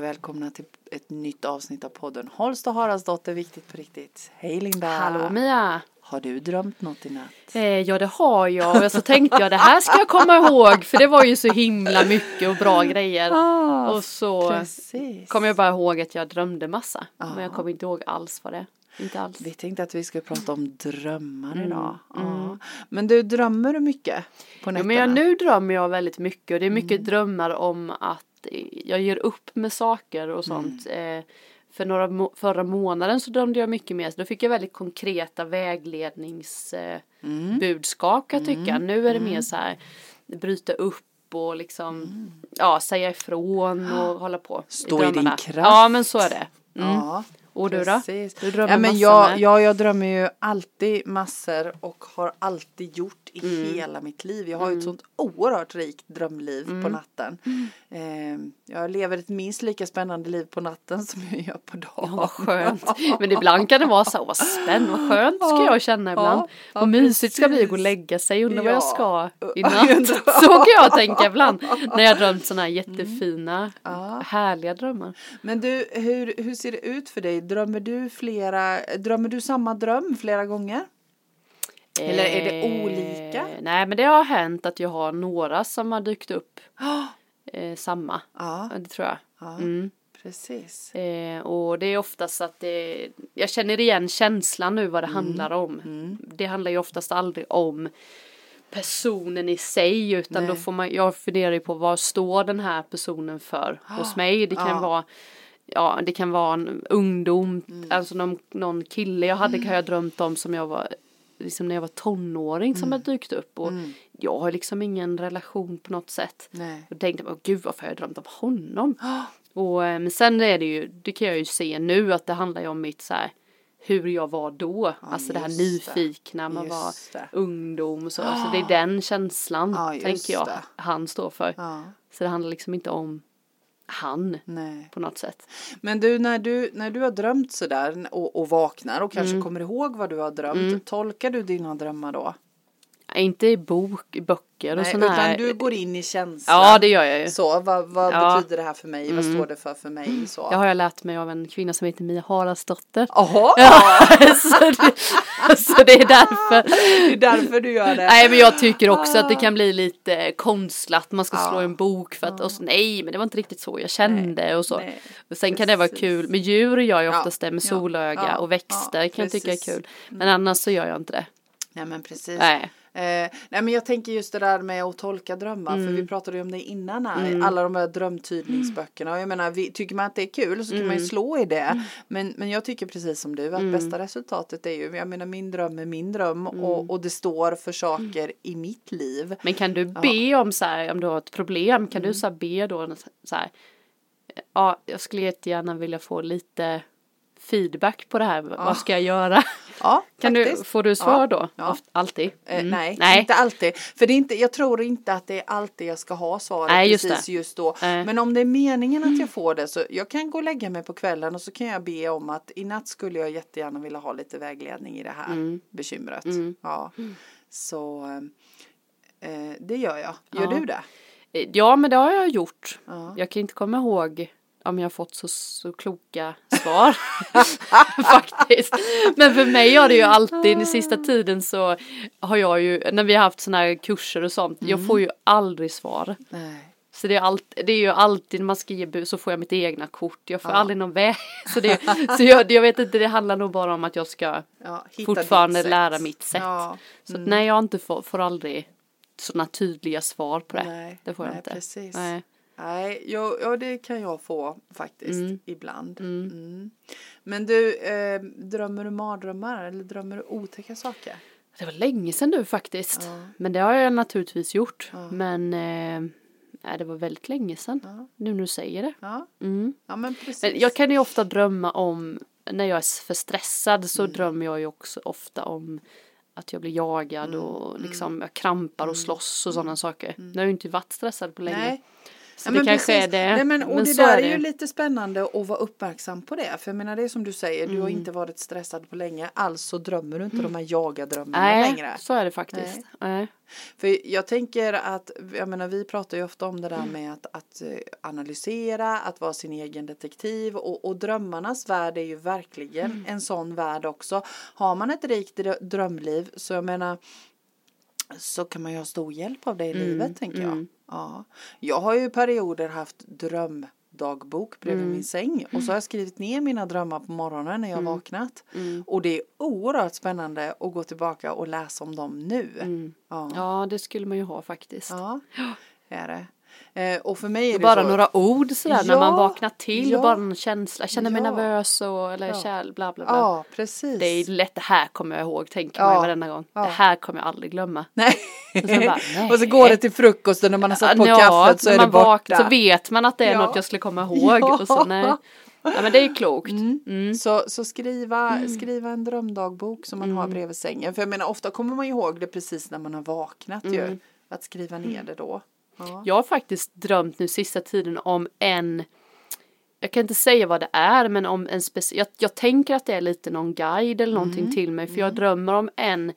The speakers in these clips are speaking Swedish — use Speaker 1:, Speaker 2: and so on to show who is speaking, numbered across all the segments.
Speaker 1: välkomna till ett nytt avsnitt av podden Holst och Haraldsdotter, viktigt på riktigt. Hej Linda!
Speaker 2: Hallå Mia!
Speaker 1: Har du drömt något i natt?
Speaker 2: Eh, ja det har jag och så tänkte jag det här ska jag komma ihåg för det var ju så himla mycket och bra grejer.
Speaker 1: Ah,
Speaker 2: Och så
Speaker 1: precis.
Speaker 2: kommer jag bara ihåg att jag drömde massa
Speaker 1: Ja.
Speaker 2: men jag kommer inte ihåg alls vad det är. Inte alls.
Speaker 1: Vi tänkte att vi skulle prata om drömmar idag. Ja.
Speaker 2: mm.
Speaker 1: Men du, drömmer du mycket på
Speaker 2: Ja,
Speaker 1: nätterna? Mm.
Speaker 2: men jag, nu drömmer jag väldigt mycket och det är mycket drömmar om att eh, jag ger upp med saker
Speaker 1: Mm.
Speaker 2: och sånt. Eh, för några må- förra månaden så drömde jag mycket mer så då fick jag väldigt konkreta vägledningsbudskap eh,
Speaker 1: Mm.
Speaker 2: budskap kan jag tycka. Nu är det mer så här bryta upp och liksom ja, säga ifrån och hålla på.
Speaker 1: Mm. Ah. Stå i din
Speaker 2: drömmarna.
Speaker 1: kraft.
Speaker 2: Ja men så är det. Mm.
Speaker 1: Ja,
Speaker 2: och du då?
Speaker 1: precis.
Speaker 2: Du drömmer
Speaker 1: Ja, men
Speaker 2: massor
Speaker 1: jag,
Speaker 2: med.
Speaker 1: jag, jag drömmer ju alltid massor och har alltid gjort i
Speaker 2: Mm.
Speaker 1: hela mitt liv. Jag har ju ett sånt oerhört rikt drömliv på
Speaker 2: Mm.
Speaker 1: natten. Eh, jag lever ett minst lika spännande liv på natten som jag gör på dagen.
Speaker 2: Ja, vad skönt. Men ibland kan det vara så, vad spännande, vad skönt ska jag känna ibland.
Speaker 1: Ja, ja,
Speaker 2: vad mysigt ska det bli att gå och
Speaker 1: precis.
Speaker 2: lägga sig, undrar vad
Speaker 1: Ja.
Speaker 2: jag ska i
Speaker 1: Ja,
Speaker 2: natt.
Speaker 1: undrar. Mm.
Speaker 2: Så kan jag tänka ibland när jag drömt sådana här jättefina,
Speaker 1: Ja.
Speaker 2: härliga drömmar.
Speaker 1: Men du, hur, hur ser det ut för dig? Drömmer du, flera, drömmer du samma dröm flera gånger? Eller är det olika?
Speaker 2: Eh, Nej, men det har hänt att jag har några som har dykt upp
Speaker 1: Ja,
Speaker 2: eh, samma.
Speaker 1: ja,
Speaker 2: Ja, Det tror jag.
Speaker 1: ja
Speaker 2: Mm.
Speaker 1: precis.
Speaker 2: Eh, och det är oftast att det, jag känner igen känslan nu vad det handlar om.
Speaker 1: Mm.
Speaker 2: Det handlar ju oftast aldrig om personen i sig utan
Speaker 1: Nej.
Speaker 2: då får man, jag funderar ju på vad står den här personen för hos mig. Det kan
Speaker 1: Ah, Ja.
Speaker 2: vara Ja, det kan vara en ungdom,
Speaker 1: Mm.
Speaker 2: alltså någon, någon kille jag hade kan jag drömt om som jag var, liksom när jag var tonåring
Speaker 1: Mm.
Speaker 2: som hade dykt upp och jag har liksom ingen relation på något sätt.
Speaker 1: Nej. Ah.
Speaker 2: Och tänkte man, gud varför har jag drömt om honom?
Speaker 1: Ja,
Speaker 2: Och, eh, men sen är det ju, det kan jag ju se nu att det handlar ju om mitt så här hur jag var då, alltså det här
Speaker 1: just det.
Speaker 2: nyfikna, man var
Speaker 1: Just det. Ah.
Speaker 2: ungdom och så, så det är den känslan
Speaker 1: Ja, just
Speaker 2: tänker jag
Speaker 1: det.
Speaker 2: han står för.
Speaker 1: ja,
Speaker 2: Så det handlar liksom inte om han
Speaker 1: nej.
Speaker 2: på något sätt.
Speaker 1: Men du, när du, när du har drömt sådär och, och vaknar och kanske
Speaker 2: Mm.
Speaker 1: kommer ihåg vad du har drömt, tolkar du dina drömmar då?
Speaker 2: Inte i bok, i böcker och
Speaker 1: Nej,
Speaker 2: sådana
Speaker 1: utan
Speaker 2: här.
Speaker 1: du går in i känslan.
Speaker 2: Ja, det gör jag ju.
Speaker 1: Så, vad, vad
Speaker 2: Ja. Mm.
Speaker 1: betyder det här för mig? Vad står det för för mig? Så.
Speaker 2: Det har jag lärt mig av en kvinna som heter Mia Haraldsdotter.
Speaker 1: Jaha,
Speaker 2: så, det, så det är därför.
Speaker 1: det är därför du gör det. Ah.
Speaker 2: Nej men jag tycker också att det kan bli lite konstlat, man ska slå
Speaker 1: Ja.
Speaker 2: en bok för att, och så, nej men det var inte riktigt så jag kände och så.
Speaker 1: Ah. nej,
Speaker 2: och sen kan det vara
Speaker 1: precis.
Speaker 2: kul, med djur gör jag
Speaker 1: Ja,
Speaker 2: oftast det, med
Speaker 1: ja,
Speaker 2: solöga
Speaker 1: ja,
Speaker 2: och växter
Speaker 1: ja,
Speaker 2: kan jag tycka är
Speaker 1: precis. Mm.
Speaker 2: kul. Men annars så gör jag inte det.
Speaker 1: Nej men precis.
Speaker 2: Nej.
Speaker 1: Eh, nej men jag tänker just det där med att tolka drömmar för
Speaker 2: Mm.
Speaker 1: vi pratade ju om det innan här. Alla de här drömtydningsböckerna och jag menar vi, tycker man att det är kul så kan
Speaker 2: Mm.
Speaker 1: man ju slå i det. Men, men jag tycker precis som du att bästa resultatet är ju, jag menar min dröm är min dröm
Speaker 2: Mm.
Speaker 1: och, och det står för saker i mitt liv.
Speaker 2: Men kan du be om så här, om du har ett problem, kan
Speaker 1: Mm.
Speaker 2: du så här be då så här, ja jag skulle jättegärna vilja få lite feedback på det här, vad ska jag göra?
Speaker 1: Ja,
Speaker 2: Kan
Speaker 1: Ah. faktiskt.
Speaker 2: du, får du svar
Speaker 1: Ja,
Speaker 2: då?
Speaker 1: ja.
Speaker 2: Oft- Alltid?
Speaker 1: Eh,
Speaker 2: Mm.
Speaker 1: Nej, inte alltid. För det är inte, jag tror inte att det är alltid jag ska ha svaret
Speaker 2: Nej, just
Speaker 1: precis
Speaker 2: det.
Speaker 1: just då.
Speaker 2: Nej. Mm.
Speaker 1: Men om det är meningen att jag får det så jag kan gå och lägga mig på kvällen och så kan jag be om att i natt skulle jag jättegärna vilja ha lite vägledning i det här
Speaker 2: Mm.
Speaker 1: bekymret. Ja. Så eh, det gör jag. Gör
Speaker 2: Ja.
Speaker 1: du det?
Speaker 2: Eh, Ja, men det har jag gjort.
Speaker 1: Ja.
Speaker 2: Jag kan inte komma ihåg om jag har fått så, så kloka svar. Faktiskt. Men för mig har det ju alltid, den sista tiden så har jag ju, när vi har haft sådana här kurser och sånt,
Speaker 1: Mm.
Speaker 2: jag får ju aldrig svar.
Speaker 1: Nej.
Speaker 2: Så det är, allt, det är ju alltid när man ska ge bud så får jag mitt egna kort, jag får aldrig någon väg. Så, det, så jag, jag vet inte, det handlar nog bara om att jag ska
Speaker 1: Ja, hitta
Speaker 2: fortfarande
Speaker 1: ditt sätt.
Speaker 2: lära mitt sätt.
Speaker 1: Ja.
Speaker 2: Så att nej, jag har inte får, får aldrig sådana tydliga svar på det.
Speaker 1: Nej,
Speaker 2: det får jag
Speaker 1: nej,
Speaker 2: inte.
Speaker 1: precis.
Speaker 2: Nej.
Speaker 1: Nej, jo, ja det kan jag få faktiskt ibland. Mm. Men du, eh, drömmer du mardrömmar eller drömmer du otäcka saker?
Speaker 2: Det var länge sedan nu faktiskt. Men det har jag naturligtvis gjort. Men eh, nej, det var väldigt länge sedan. Nu när du säger det.
Speaker 1: Ja,
Speaker 2: Mm.
Speaker 1: ja men precis.
Speaker 2: Men jag kan ju ofta drömma om, när jag är för stressad så
Speaker 1: Mm.
Speaker 2: drömmer jag ju också ofta om att jag blir
Speaker 1: Mm.
Speaker 2: jagad och liksom jag krampar och slåss och sådana saker. Nu har jag ju inte varit stressad på länge.
Speaker 1: Nej.
Speaker 2: Så det kanske är det.
Speaker 1: Nej, men, och det
Speaker 2: så
Speaker 1: där
Speaker 2: det.
Speaker 1: är ju lite spännande att vara uppmärksam på det. För jag menar det är som du säger, du har
Speaker 2: Mm.
Speaker 1: inte varit stressad på länge. Alltså drömmer du inte de här jagadrömmarna
Speaker 2: Nej,
Speaker 1: längre.
Speaker 2: så är det faktiskt. Nej.
Speaker 1: För jag tänker att, jag menar vi pratar ju ofta om det där med att, att eh, analysera, att vara sin egen detektiv och, och drömmarnas värld är ju verkligen en sån värld också. Har man ett rikt drö- drömliv så jag menar så kan man ju ha stor hjälp av det i livet tänker jag. Ja. Jag har ju perioder haft drömdagbok bredvid min säng och så har jag skrivit ner mina drömmar på morgonen när jag vaknat. Och det är oerhört spännande att gå tillbaka och läsa om dem nu.
Speaker 2: Mm.
Speaker 1: Ja.
Speaker 2: Ja, det skulle man ju ha faktiskt.
Speaker 1: Ja, det är det. Eh, och för mig är det
Speaker 2: Bara
Speaker 1: så,
Speaker 2: några ord sådär när
Speaker 1: Ja,
Speaker 2: man vaknar till,
Speaker 1: ja.
Speaker 2: bara någon känsla, jag känner mig
Speaker 1: Ja.
Speaker 2: nervös och eller
Speaker 1: Ja.
Speaker 2: kärl, bla bla bla.
Speaker 1: Ja, precis.
Speaker 2: Det är lätt, det här kommer jag ihåg, tänker man ju
Speaker 1: Ja.
Speaker 2: varenda gång.
Speaker 1: Ja.
Speaker 2: Det här kommer jag aldrig glömma.
Speaker 1: Nej.
Speaker 2: Och sen bara, nej.
Speaker 1: och så går det till frukosten när man har satt på
Speaker 2: Ja,
Speaker 1: kaffet så
Speaker 2: när
Speaker 1: är det
Speaker 2: man vaknar
Speaker 1: borta.
Speaker 2: så vet man att det är
Speaker 1: Ja.
Speaker 2: något jag skulle komma ihåg.
Speaker 1: Ja.
Speaker 2: Och så, nej. Ja, men det är klokt. Mm.
Speaker 1: Så, så skriva, skriva en drömdagbok som man har
Speaker 2: Mm.
Speaker 1: bredvid sängen. För jag menar ofta kommer man ju ihåg det precis när man har vaknat
Speaker 2: Mm.
Speaker 1: ju. Att skriva ner det då. Ja.
Speaker 2: Jag har faktiskt drömt nu sista tiden om en jag kan inte säga vad det är men om en speciell, jag, jag tänker att det är lite någon guide eller någonting till mig för jag drömmer om en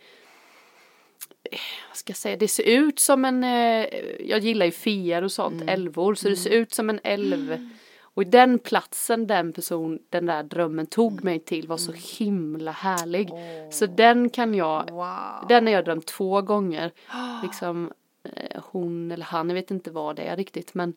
Speaker 2: eh, vad ska jag säga, det ser ut som en, eh, jag gillar ju fiar och sånt, älvor, så det ser ut som en älv och i den platsen den person, den där drömmen tog mig till var så himla härlig så den kan jag
Speaker 1: Wow.
Speaker 2: den har jag drömt två gånger. Liksom eh, hon eller han, jag vet inte vad det är riktigt men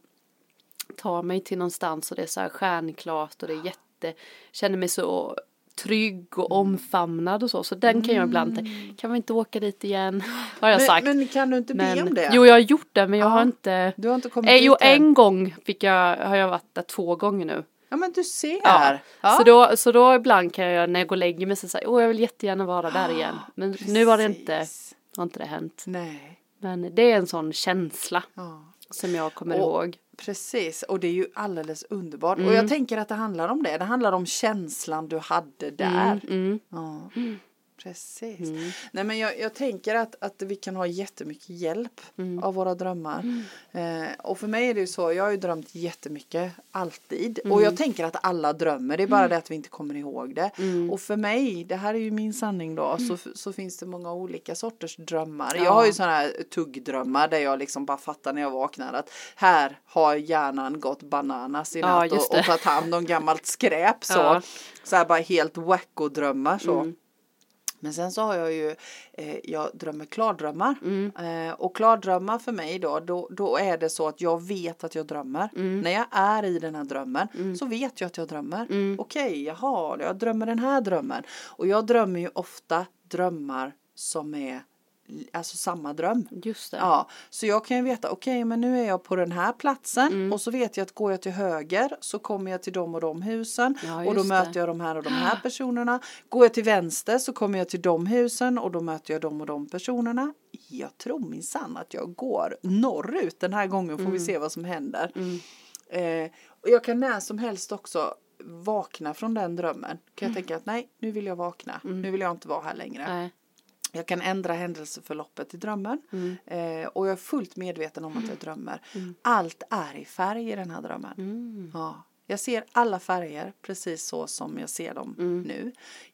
Speaker 2: tar mig till någonstans och det är så här stjärnklart och det är jätte, känner mig så trygg
Speaker 1: Mm.
Speaker 2: och omfamnad och så. Så den kan jag ibland tänka, kan vi inte åka dit igen? Har jag
Speaker 1: Men,
Speaker 2: sagt.
Speaker 1: men kan du inte be om det?
Speaker 2: Jo, jag har gjort det men jag
Speaker 1: Ja.
Speaker 2: har inte.
Speaker 1: Du har inte kommit
Speaker 2: Eh, jo,
Speaker 1: dit än.
Speaker 2: en gång fick jag, har jag varit där två gånger nu.
Speaker 1: Ja men du ser.
Speaker 2: Ja.
Speaker 1: Ja.
Speaker 2: Så, då, så då ibland kan jag när jag går och lägger mig så säga, åh jag vill jättegärna vara där igen. Men nu har det inte,
Speaker 1: Ah, Precis.
Speaker 2: har inte det hänt.
Speaker 1: Nej.
Speaker 2: Men det är en sån känsla
Speaker 1: Ja.
Speaker 2: som jag kommer
Speaker 1: Och-
Speaker 2: ihåg.
Speaker 1: Precis, och det är ju alldeles underbart. Och
Speaker 2: Mm.
Speaker 1: jag tänker att det handlar om det. Det handlar om känslan du hade där.
Speaker 2: Mm,
Speaker 1: Ja. Precis. Nej, men jag, jag tänker att, att vi kan ha jättemycket hjälp
Speaker 2: Mm.
Speaker 1: av våra drömmar. Eh, och för mig är det ju så, jag har ju drömt jättemycket, alltid.
Speaker 2: Mm.
Speaker 1: Och jag tänker att alla drömmer, det är bara det att vi inte kommer ihåg det.
Speaker 2: Mm.
Speaker 1: Och för mig, det här är ju min sanning då, så, så finns det många olika sorters drömmar. Jag har ju sådana här tuggdrömmar där jag liksom bara fattar när jag vaknar att här har hjärnan gått bananas i
Speaker 2: Ja,
Speaker 1: natt
Speaker 2: just
Speaker 1: och,
Speaker 2: det.
Speaker 1: och tagit hand om gammalt skräp så.
Speaker 2: Ja. Mm.
Speaker 1: Så här bara helt wacko-drömmar så. Men sen så har jag ju, eh, jag drömmer klardrömmar. Eh, och klardrömmar för mig då, då, då är det så att jag vet att jag drömmer. När jag är i den här drömmen så vet jag att jag drömmer. Okej, jaha, jag drömmer den här drömmen. Och jag drömmer ju ofta drömmar som är alltså samma dröm.
Speaker 2: Just det.
Speaker 1: Ja, så jag kan ju veta, okej men nu är jag på den här platsen
Speaker 2: Mm.
Speaker 1: och så vet jag att går jag till höger så kommer jag till de och de husen
Speaker 2: Ja,
Speaker 1: och då
Speaker 2: just det. Ah.
Speaker 1: möter jag de här och de här personerna. Går jag till vänster så kommer jag till de husen och då möter jag de och de personerna. Jag tror minsann att jag går norrut den här gången får
Speaker 2: Mm.
Speaker 1: vi se vad som händer. Eh, och jag kan när som helst också vakna från den drömmen. Kan jag tänka att nej, nu vill jag vakna. Nu vill jag inte vara här längre.
Speaker 2: Mm. Nej.
Speaker 1: Jag kan ändra händelseförloppet i drömmen eh, och jag är fullt medveten om att jag drömmer. Allt är i färg i den här drömmen.
Speaker 2: Mm.
Speaker 1: Ja. Jag ser alla färger precis så som jag ser dem nu.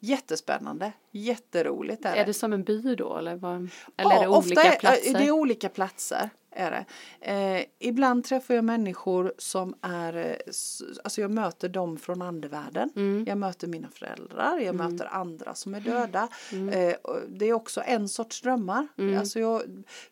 Speaker 1: Jättespännande, jätteroligt är det.
Speaker 2: Är det som en by då eller? Vad, eller är det
Speaker 1: Ja,
Speaker 2: olika
Speaker 1: ofta är,
Speaker 2: platser?
Speaker 1: Det är olika platser. Är det. Eh, ibland träffar jag människor som är, eh, s- alltså jag möter dem från andevärlden.
Speaker 2: Mm.
Speaker 1: Jag möter mina föräldrar, jag möter andra som är döda.
Speaker 2: Mm.
Speaker 1: Eh, och det är också en sorts drömmar. Alltså jag,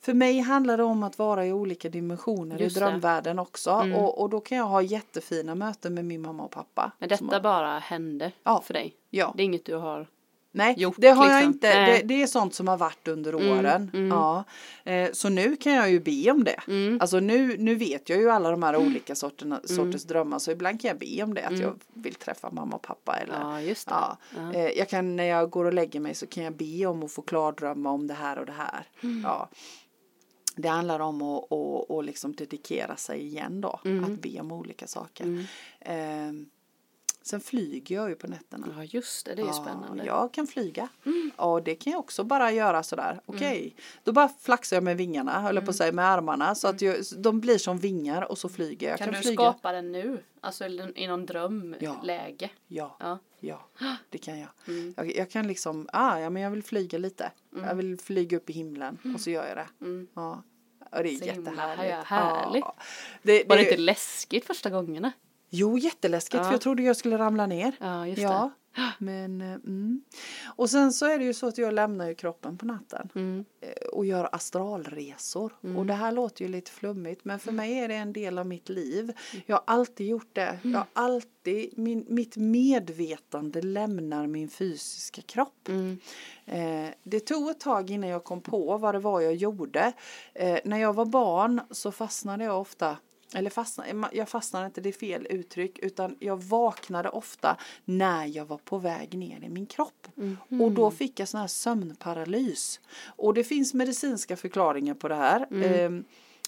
Speaker 1: för mig handlar det om att vara i olika dimensioner
Speaker 2: Just
Speaker 1: i
Speaker 2: det. Mm.
Speaker 1: drömvärlden också. Och, och då kan jag ha jättefina möten med min mamma och pappa.
Speaker 2: Men
Speaker 1: som
Speaker 2: detta
Speaker 1: har-
Speaker 2: bara hände
Speaker 1: Ja.
Speaker 2: för dig?
Speaker 1: Ja.
Speaker 2: Det är inget du har?
Speaker 1: Nej,
Speaker 2: gjort,
Speaker 1: det har jag
Speaker 2: liksom.
Speaker 1: inte.
Speaker 2: Nej. Mm,
Speaker 1: Det, det är sånt som har varit under åren. Ja. Eh, så nu kan jag ju be om det.
Speaker 2: Mm.
Speaker 1: Alltså nu, nu vet jag ju alla de här olika sorterna, sorters drömmar så ibland kan jag be om det att jag vill träffa mamma och pappa. Eller,
Speaker 2: Mm. Ja, just det.
Speaker 1: Ja. Eh, jag kan, när jag går och lägger mig så kan jag be om att få klardrömma om det här och det här.
Speaker 2: Mm.
Speaker 1: Ja. Det handlar om att, att, att
Speaker 2: Mm.
Speaker 1: liksom dedikera sig igen då, att be om olika saker. Ehm, Sen flyger jag ju på nätterna.
Speaker 2: Ja just det, det är ju spännande. Mm.
Speaker 1: Ja, jag kan flyga. Ja, det kan jag också bara göra sådär. Okej, då bara flaxar jag med vingarna, höll
Speaker 2: Mm.
Speaker 1: jag på att säga, med armarna. Så att jag, de blir som vingar och så flyger jag. jag
Speaker 2: Kan, du
Speaker 1: flyga.
Speaker 2: skapa den nu? Alltså eller i någon
Speaker 1: Ja.
Speaker 2: drömläge?
Speaker 1: Ja,
Speaker 2: Ja. Mm.
Speaker 1: ja, det kan jag. jag. Jag kan liksom, ah, ja men jag vill flyga lite. Jag vill flyga upp i himlen och så gör jag det. Ja. Och det är
Speaker 2: Mm. Så himla
Speaker 1: jättehärligt.
Speaker 2: här- härligt.
Speaker 1: Ja. Det,
Speaker 2: Var det
Speaker 1: det-
Speaker 2: inte läskigt första gångerna?
Speaker 1: Jo, jätteläskigt
Speaker 2: Ja.
Speaker 1: för jag trodde jag skulle ramla ner.
Speaker 2: Ja, just
Speaker 1: ja. Men, eh, mm. Och sen så är det ju så att jag lämnar ju kroppen på natten
Speaker 2: Mm.
Speaker 1: eh, och gör astralresor. Och det här låter ju lite flummigt men för mig är det en del av mitt liv. Jag har alltid gjort det. Jag har alltid, min, mitt medvetande lämnar min fysiska kropp. Eh, det tog ett tag innan jag kom på vad det var jag gjorde. Eh, när jag var barn så fastnade jag ofta eller fastnade, jag fastnade inte, det är fel uttryck, utan jag vaknade ofta när jag var på väg ner i min kropp.
Speaker 2: Mhm.
Speaker 1: Och då fick jag sån här sömnparalys. Och det finns medicinska förklaringar på det här.
Speaker 2: Mm.
Speaker 1: Ehm,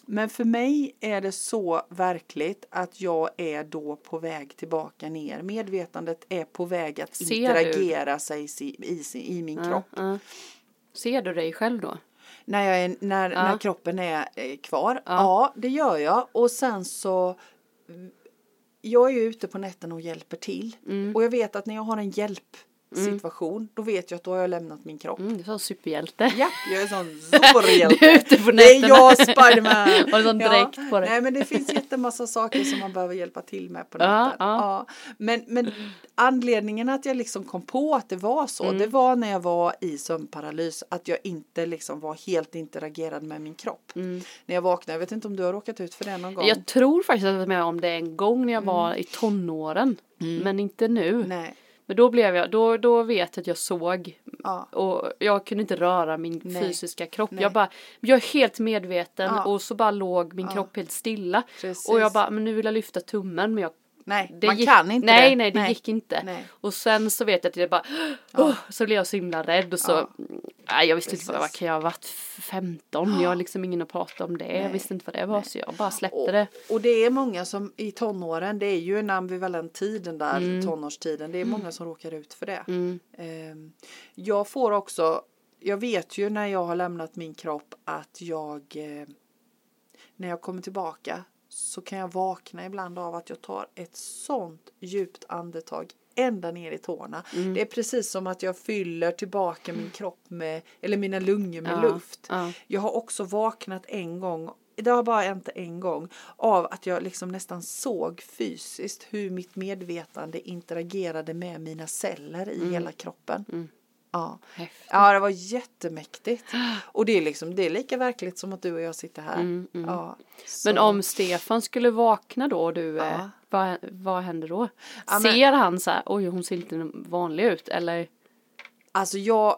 Speaker 1: Men för mig är det så verkligt att jag är då på väg tillbaka ner. Medvetandet är på väg att
Speaker 2: Ser du?
Speaker 1: interagera sig si- i, sin- i min kropp.
Speaker 2: Ja. Ser du dig själv då?
Speaker 1: När, jag är, när,
Speaker 2: Ja.
Speaker 1: när kroppen är eh, kvar. Ja. det gör jag. Och sen så jag är ju ute på nätterna och hjälper till.
Speaker 2: Mm.
Speaker 1: Och jag vet att när jag har en hjälpsituation då vet jag att då har jag lämnat min kropp.
Speaker 2: Mm, du sa superhjälte.
Speaker 1: Ja, jag är en sån superhjälte.
Speaker 2: Du är ute på
Speaker 1: det är
Speaker 2: nätterna.
Speaker 1: jag Spiderman.
Speaker 2: Har du sån dräkt på dig?
Speaker 1: Nej men det finns jättemassa saker som man behöver hjälpa till med på nätet.
Speaker 2: Ja,
Speaker 1: Ja,
Speaker 2: ja.
Speaker 1: Men, men anledningen att jag liksom kom på att det var så
Speaker 2: Mm.
Speaker 1: det var när jag var i sömnparalys att jag inte liksom var helt interagerad med min kropp. När jag vaknade, jag vet inte om du har råkat ut för det någon gång?
Speaker 2: Mm. Jag tror faktiskt att jag var med om det en gång när jag var i tonåren. Men inte nu.
Speaker 1: Mm. Nej.
Speaker 2: Men då blev jag, då, då vet jag att jag såg
Speaker 1: Ja.
Speaker 2: och jag kunde inte röra min
Speaker 1: Nej.
Speaker 2: fysiska kropp.
Speaker 1: Nej.
Speaker 2: Jag bara, jag är helt medveten
Speaker 1: Ja.
Speaker 2: och så bara låg min kropp helt stilla.
Speaker 1: Precis.
Speaker 2: Och jag bara, men nu vill jag lyfta tummen men jag
Speaker 1: Nej,
Speaker 2: det
Speaker 1: man
Speaker 2: gick,
Speaker 1: kan inte
Speaker 2: nej,
Speaker 1: det.
Speaker 2: Nej, det gick inte.
Speaker 1: Nej.
Speaker 2: Och sen så vet jag att jag bara, "Åh", så blev jag så himla rädd och så,
Speaker 1: Ja.
Speaker 2: nej jag visste inte vad
Speaker 1: Precis.
Speaker 2: vad kan jag ha varit, 15, jag har liksom ingen att prata om det, jag
Speaker 1: Nej.
Speaker 2: visste inte vad det var så jag bara släppte
Speaker 1: Och,
Speaker 2: det.
Speaker 1: och det är många som i tonåren, det är ju en ambivalent tid den där
Speaker 2: Mm.
Speaker 1: tonårstiden. Det är många som råkar ut för det. Ehm, Jag får också, jag vet ju när jag har lämnat min kropp att jag, eh, när jag kommer tillbaka så kan jag vakna ibland av att jag tar ett sånt djupt andetag ända ner i tårna. Det är precis som att jag fyller tillbaka min kropp med, eller mina lungor med
Speaker 2: Ja,
Speaker 1: luft.
Speaker 2: ja.
Speaker 1: Jag har också vaknat en gång, det har bara hänt en gång, av att jag liksom nästan såg fysiskt hur mitt medvetande interagerade med mina celler
Speaker 2: Mm.
Speaker 1: i hela kroppen. Ja.
Speaker 2: Häftigt.
Speaker 1: ja, det var jättemäktigt. Och det är, liksom, det är lika verkligt som att du och jag sitter här. Ja,
Speaker 2: Mm, Men
Speaker 1: så-
Speaker 2: om Stefan skulle vakna då och du, eh,
Speaker 1: Ja.
Speaker 2: vad, vad händer då?
Speaker 1: Ja, men-
Speaker 2: Ser han så här, oj hon ser inte vanlig ut eller?
Speaker 1: Alltså jag...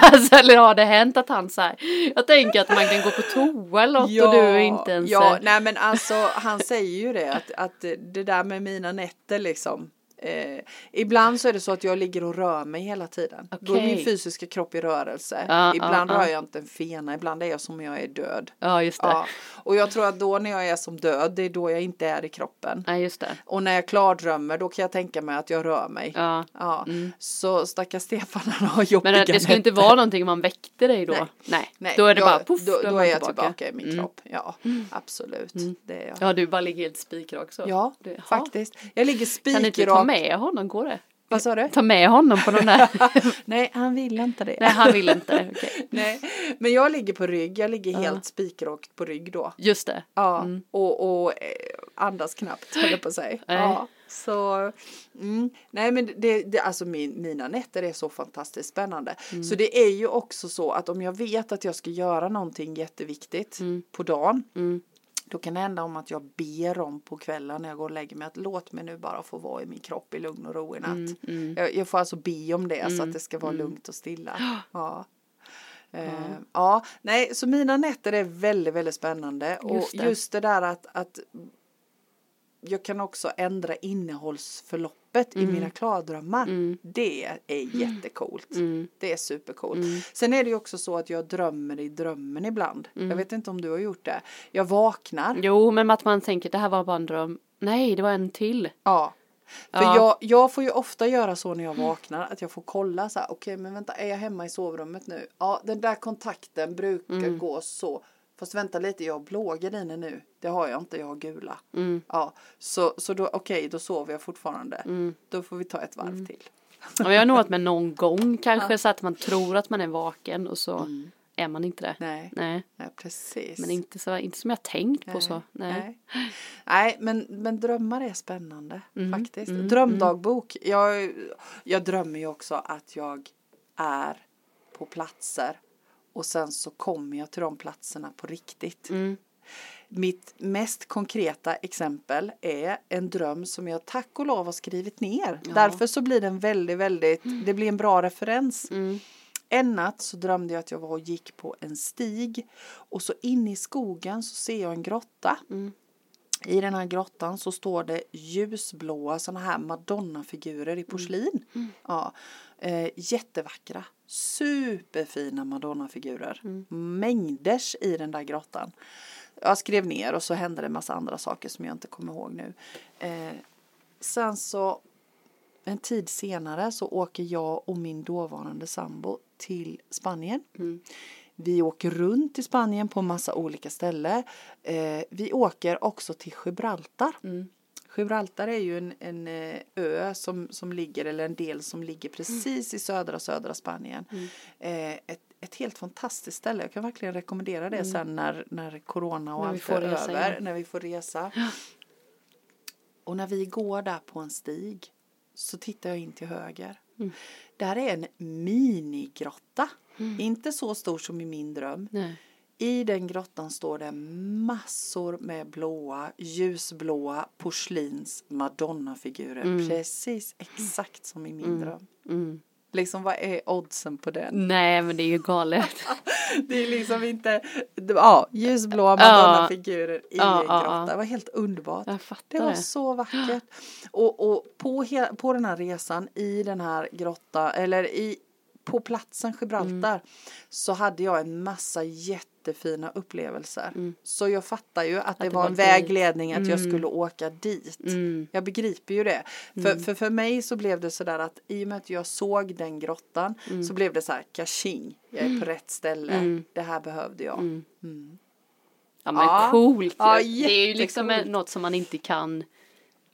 Speaker 2: Alltså, eller har det hänt att han så här, jag tänker att man kan gå på toa eller något och du är inte ens
Speaker 1: Ja,
Speaker 2: eh,
Speaker 1: nej men alltså han säger ju det att, att det där med mina nätter liksom. Eh, ibland så är det så att jag ligger och rör mig hela tiden. Då är
Speaker 2: Okej.
Speaker 1: min fysiska kropp i rörelse.
Speaker 2: Ja,
Speaker 1: ibland
Speaker 2: ja, ja.
Speaker 1: rör jag inte en fena, ibland är jag som om jag är död.
Speaker 2: ja just det.
Speaker 1: Ja. Och jag tror att då när jag är som död, det är då jag inte är i kroppen.
Speaker 2: Nej just det.
Speaker 1: Och när jag klardrömmer, då kan jag tänka mig att jag rör mig.
Speaker 2: Ja. Mm.
Speaker 1: Ja. Så stackars Stefan han har jobbiga
Speaker 2: Men äh, det, det skulle inte
Speaker 1: nätter.
Speaker 2: vara någonting om man väckte dig då?
Speaker 1: Nej.
Speaker 2: Nej. Då är det bara poff,
Speaker 1: då, då
Speaker 2: man
Speaker 1: är
Speaker 2: Mm.
Speaker 1: jag tillbaka, i min kropp. Ja, absolut. Det är jag.
Speaker 2: Ja, du bara ligger helt spikrak så.
Speaker 1: Ja,
Speaker 2: Du- jaha.
Speaker 1: faktiskt. Jag ligger
Speaker 2: Kan du inte ta
Speaker 1: spikrak.
Speaker 2: med honom? Går det?
Speaker 1: Vad sa du?
Speaker 2: Ta med honom på någon där?
Speaker 1: Nej, han vill inte det.
Speaker 2: Nej, han vill inte. Okej.
Speaker 1: Nej. Men jag ligger på rygg. Jag ligger helt spikrakt på rygg då.
Speaker 2: Just det.
Speaker 1: Ja, och, och eh, andas knappt höll jag på sig.
Speaker 2: Mm. Nej.
Speaker 1: Ja, så, mm. Nej men det, det, alltså min, mina nätter är så fantastiskt spännande.
Speaker 2: Mm.
Speaker 1: Så det är ju också så att om jag vet att jag ska göra någonting jätteviktigt
Speaker 2: Mm.
Speaker 1: på dagen. Då kan det hända om att jag ber om på kvällen när jag går och lägger mig att låt mig nu bara få vara i min kropp i lugn och ro i natt. Jag, jag får alltså be om det så att det ska vara lugnt och stilla. Ja. Eh, ja, nej, så mina nätter är väldigt, väldigt spännande.
Speaker 2: Just
Speaker 1: och
Speaker 2: det.
Speaker 1: just det där att, att jag kan också ändra innehållsförloppet i mina klardrömmar. Det är jättecoolt. Det är supercoolt. Sen är det ju också så att jag drömmer i drömmen ibland. Jag vet inte om du har gjort det. Jag vaknar.
Speaker 2: Jo, men att man tänker det här var bara en dröm. Nej, det var en till.
Speaker 1: Ja. För
Speaker 2: Ja.
Speaker 1: jag, jag får ju ofta göra så när jag vaknar att jag får kolla så här, okej men vänta är jag hemma i sovrummet nu? Ja den där kontakten brukar
Speaker 2: Mm.
Speaker 1: gå så. Fast vänta lite jag har blå gardiner nu. Det har jag inte, jag har gula.
Speaker 2: Mm.
Speaker 1: Ja, så, så då okej då sover jag fortfarande.
Speaker 2: Mm.
Speaker 1: Då får vi ta ett varv till.
Speaker 2: Ja, men jag har nog varit med någon gång kanske så att man tror att man är vaken och så är man inte det.
Speaker 1: Mm. Nej,
Speaker 2: Nej.
Speaker 1: nej precis.
Speaker 2: Men inte, så, inte som jag tänkt på så. Nej.
Speaker 1: Mm, Nej, Nej, men, men drömmar är spännande
Speaker 2: Mm,
Speaker 1: faktiskt. Drömdagbok. Jag, jag drömmer ju också att jag är på platser och sen så kommer jag till de platserna på riktigt.
Speaker 2: Mm.
Speaker 1: Mitt mest konkreta exempel är en dröm som jag tack och lov har skrivit ner. Därför så blir den väldigt, väldigt,
Speaker 2: Mm.
Speaker 1: det blir en bra referens. En natt så drömde jag att jag var och gick på en stig och så inne i skogen så ser jag en grotta. I den här grottan så står det ljusblåa sådana här madonnafigurer i porslin. Ja, eh, jättevackra, superfina madonnafigurer. Mängders i den där grottan. Jag skrev ner och så hände det en massa andra saker som jag inte kommer ihåg nu. Eh, sen så en tid senare så åker jag och min dåvarande sambo till Spanien.
Speaker 2: Mm.
Speaker 1: Vi åker runt i Spanien på massa olika ställen. Eh, vi åker också till Gibraltar.
Speaker 2: Mm.
Speaker 1: Gibraltar är ju en, en eh, ö som, som ligger, eller en del som ligger precis i södra södra Spanien.
Speaker 2: Mm.
Speaker 1: Eh, ett, ett helt fantastiskt ställe. Jag kan verkligen rekommendera det sen när, när corona och
Speaker 2: Mm. När vi
Speaker 1: allt
Speaker 2: får
Speaker 1: är
Speaker 2: resa
Speaker 1: över.
Speaker 2: igen.
Speaker 1: När vi får resa. Och när vi går där på en stig så tittar jag in till höger.
Speaker 2: Mm.
Speaker 1: Där är en minigrotta.
Speaker 2: Mm.
Speaker 1: Inte så stor som i min dröm.
Speaker 2: Nej.
Speaker 1: I den grottan står det massor med blåa, ljusblåa porslins madonnafigurer.
Speaker 2: Mm.
Speaker 1: Precis exakt som i min dröm. Liksom vad är oddsen på den?
Speaker 2: Nej men det är ju galet.
Speaker 1: Det är liksom inte, ja, ljusblåa madonnafigurer i
Speaker 2: Ja,
Speaker 1: en
Speaker 2: ja,
Speaker 1: grotta.
Speaker 2: ja.
Speaker 1: Det var helt underbart.
Speaker 2: Jag fattar
Speaker 1: Det var
Speaker 2: det.
Speaker 1: så vackert. Och, och på, he- på den här resan i den här grotta, eller i, på platsen Gibraltar
Speaker 2: Mm.
Speaker 1: så hade jag en massa jättefina upplevelser. Så jag fattar ju att, det,
Speaker 2: Mm. det
Speaker 1: var
Speaker 2: var Mm.
Speaker 1: en
Speaker 2: dit.
Speaker 1: vägledning att jag skulle åka dit.
Speaker 2: Mm.
Speaker 1: Jag begriper ju det. För, för, för mig så blev det sådär att i och med att jag såg den grottan
Speaker 2: Mm.
Speaker 1: så blev det så här kaching, jag är på rätt ställe, det här behövde jag.
Speaker 2: Mm. Ja men
Speaker 1: Ja.
Speaker 2: coolt ju.
Speaker 1: Ja,
Speaker 2: Det är ju liksom
Speaker 1: jättecoolt.
Speaker 2: något som man inte kan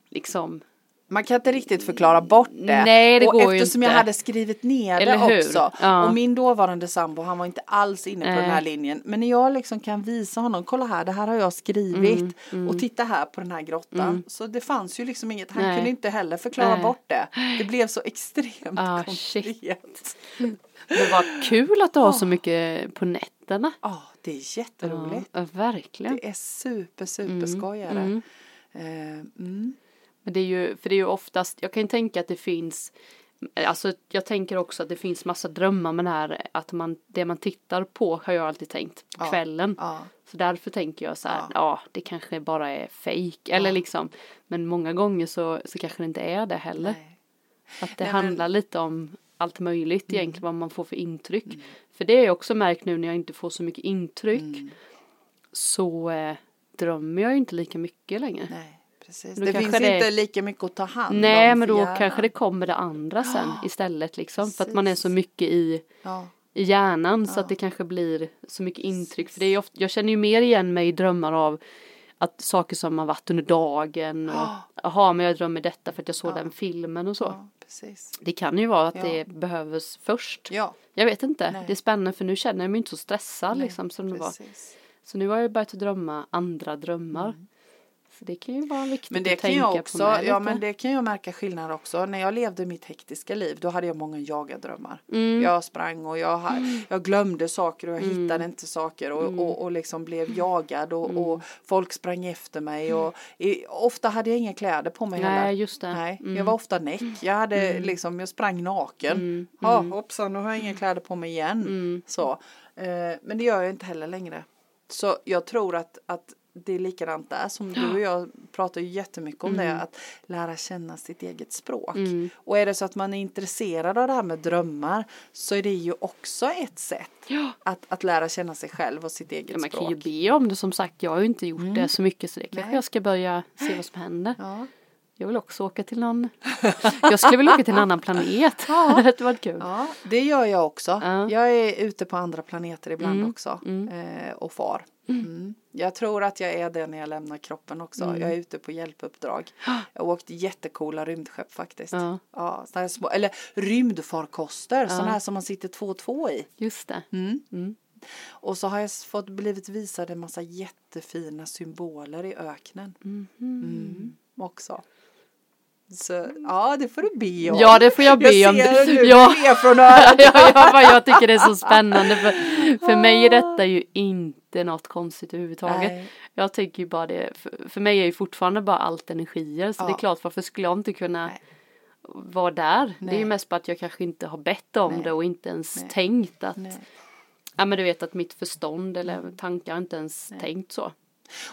Speaker 2: liksom.
Speaker 1: Man kan inte riktigt förklara bort det.
Speaker 2: Nej, det
Speaker 1: och
Speaker 2: går ju
Speaker 1: eftersom
Speaker 2: inte.
Speaker 1: jag hade skrivit ner
Speaker 2: Eller hur?
Speaker 1: det också.
Speaker 2: Ja.
Speaker 1: Och min dåvarande sambo han var inte alls inne på
Speaker 2: Nej.
Speaker 1: den här linjen. Men när jag liksom kan visa honom, kolla här, det här har jag skrivit.
Speaker 2: Mm,
Speaker 1: Och titta här på den här grottan. Så det fanns ju liksom inget, han
Speaker 2: Nej.
Speaker 1: kunde inte heller förklara
Speaker 2: Nej.
Speaker 1: bort det. Det blev så extremt
Speaker 2: Ah,
Speaker 1: konkret. Ja,
Speaker 2: Men vad kul att du har så mycket på nätterna.
Speaker 1: Ah, det är jätteroligt.
Speaker 2: Ja, Mm, verkligen.
Speaker 1: Det är super, superskoj är det. Eh, mm.
Speaker 2: Men det är ju, för det är ju oftast, jag kan ju tänka att det finns, alltså jag tänker också att det finns massa drömmar men här, att man, det man tittar på har jag alltid tänkt på
Speaker 1: Ja,
Speaker 2: kvällen.
Speaker 1: ja.
Speaker 2: Så därför tänker jag så här, ja,
Speaker 1: Ja.
Speaker 2: det kanske bara är fejk eller liksom, men många gånger så, så kanske det inte är det heller.
Speaker 1: Nej.
Speaker 2: Att det
Speaker 1: Nej, men- Mm.
Speaker 2: handlar lite om allt möjligt egentligen, vad man får för intryck. För det har jag också märkt nu när jag inte får så mycket intryck
Speaker 1: Mm.
Speaker 2: så eh, drömmer jag ju inte lika mycket längre.
Speaker 1: Nej, precis.
Speaker 2: Då
Speaker 1: Det
Speaker 2: kanske
Speaker 1: finns
Speaker 2: det-
Speaker 1: inte lika mycket att ta hand om
Speaker 2: Nej
Speaker 1: för
Speaker 2: men då
Speaker 1: hjärnan.
Speaker 2: kanske det kommer det andra sen istället liksom. För att man är så
Speaker 1: precis.
Speaker 2: mycket i,
Speaker 1: Ja.
Speaker 2: i hjärnan så att det kanske blir så mycket intryck. För det är ju ofta, jag känner ju mer igen mig i drömmar av att saker som har varit under dagen och jaha men jag drömmer detta för att jag såg den filmen och så.
Speaker 1: Ja, precis.
Speaker 2: Det kan ju vara att
Speaker 1: Ja.
Speaker 2: det behövs först.
Speaker 1: Ja,
Speaker 2: Jag vet inte,
Speaker 1: Nej.
Speaker 2: det är spännande för nu känner jag mig inte så stressad liksom som det var.
Speaker 1: precis.
Speaker 2: Så nu har jag börjat drömma andra drömmar. Så det kan ju vara viktigt
Speaker 1: Mm. Men det
Speaker 2: att
Speaker 1: kan
Speaker 2: tänka
Speaker 1: jag
Speaker 2: på
Speaker 1: också,
Speaker 2: med
Speaker 1: ja
Speaker 2: lite.
Speaker 1: men det kan jag märka skillnad också. När jag levde mitt hektiska liv då hade jag många jagardrömmar.
Speaker 2: Mm.
Speaker 1: Jag sprang och jag, ha- jag glömde saker och jag hittade inte saker och,
Speaker 2: Mm.
Speaker 1: och, och liksom blev jagad och, och folk sprang efter mig och i, ofta hade jag inga kläder på mig heller.
Speaker 2: Nej just det.
Speaker 1: Nej, jag var ofta näck. Jag hade
Speaker 2: Mm.
Speaker 1: liksom, jag sprang naken. Ja, hoppsan, nu har jag inga kläder på mig igen.
Speaker 2: Mm.
Speaker 1: Så. Eh, men det gör jag inte heller längre. Så jag tror att, att det är likadant där som du och jag pratar ju jättemycket om
Speaker 2: Mm.
Speaker 1: det, att lära känna sitt eget språk. Och är det så att man är intresserad av det här med drömmar så är det ju också ett sätt
Speaker 2: Ja.
Speaker 1: att, att lära känna sig själv och sitt eget
Speaker 2: Ja, man kan
Speaker 1: språk. Mm.
Speaker 2: ju be om det som sagt. Jag har ju inte gjort det så mycket så det kanske
Speaker 1: Nej.
Speaker 2: jag ska börja se vad som händer.
Speaker 1: Ja.
Speaker 2: Jag vill också åka till någon. Jag skulle vilja åka till en annan planet.
Speaker 1: Ja.
Speaker 2: Det hade varit kul.
Speaker 1: Ja, det gör jag också.
Speaker 2: Ja.
Speaker 1: Jag är ute på andra planeter ibland
Speaker 2: Mm,
Speaker 1: också
Speaker 2: mm.
Speaker 1: eh, och far. Mm. Jag tror att jag är det när jag lämnar kroppen också.
Speaker 2: Mm.
Speaker 1: Jag är ute på hjälpuppdrag. Jag har åkt jättecoola rymdskepp faktiskt.
Speaker 2: Ja.
Speaker 1: Ja, såna här små, eller rymdfarkoster, sådana här som man sitter två och två i.
Speaker 2: Just det.
Speaker 1: Mm.
Speaker 2: Mm.
Speaker 1: Och så har jag s- fått blivit visad en massa jättefina symboler i öknen
Speaker 2: Mhm.
Speaker 1: mm. också. Så ja, det får du be om.
Speaker 2: Ja, det får jag be
Speaker 1: jag
Speaker 2: om.
Speaker 1: ser hur du
Speaker 2: Ja.
Speaker 1: ler från örat.
Speaker 2: Ja, jag, bara, jag tycker det är så spännande för, för mig är detta ju inte något konstigt överhuvudtaget.
Speaker 1: Nej.
Speaker 2: Jag tycker ju bara det, för, för mig är ju fortfarande bara allt energier så det
Speaker 1: Ja.
Speaker 2: är klart varför skulle jag inte kunna
Speaker 1: Nej.
Speaker 2: vara där? Det är
Speaker 1: Nej.
Speaker 2: ju mest bara att jag kanske inte har bett om
Speaker 1: Nej.
Speaker 2: det och inte ens
Speaker 1: Nej.
Speaker 2: tänkt att,
Speaker 1: Nej. Mm.
Speaker 2: ja men du vet att mitt förstånd eller tankar har inte ens tänkt så.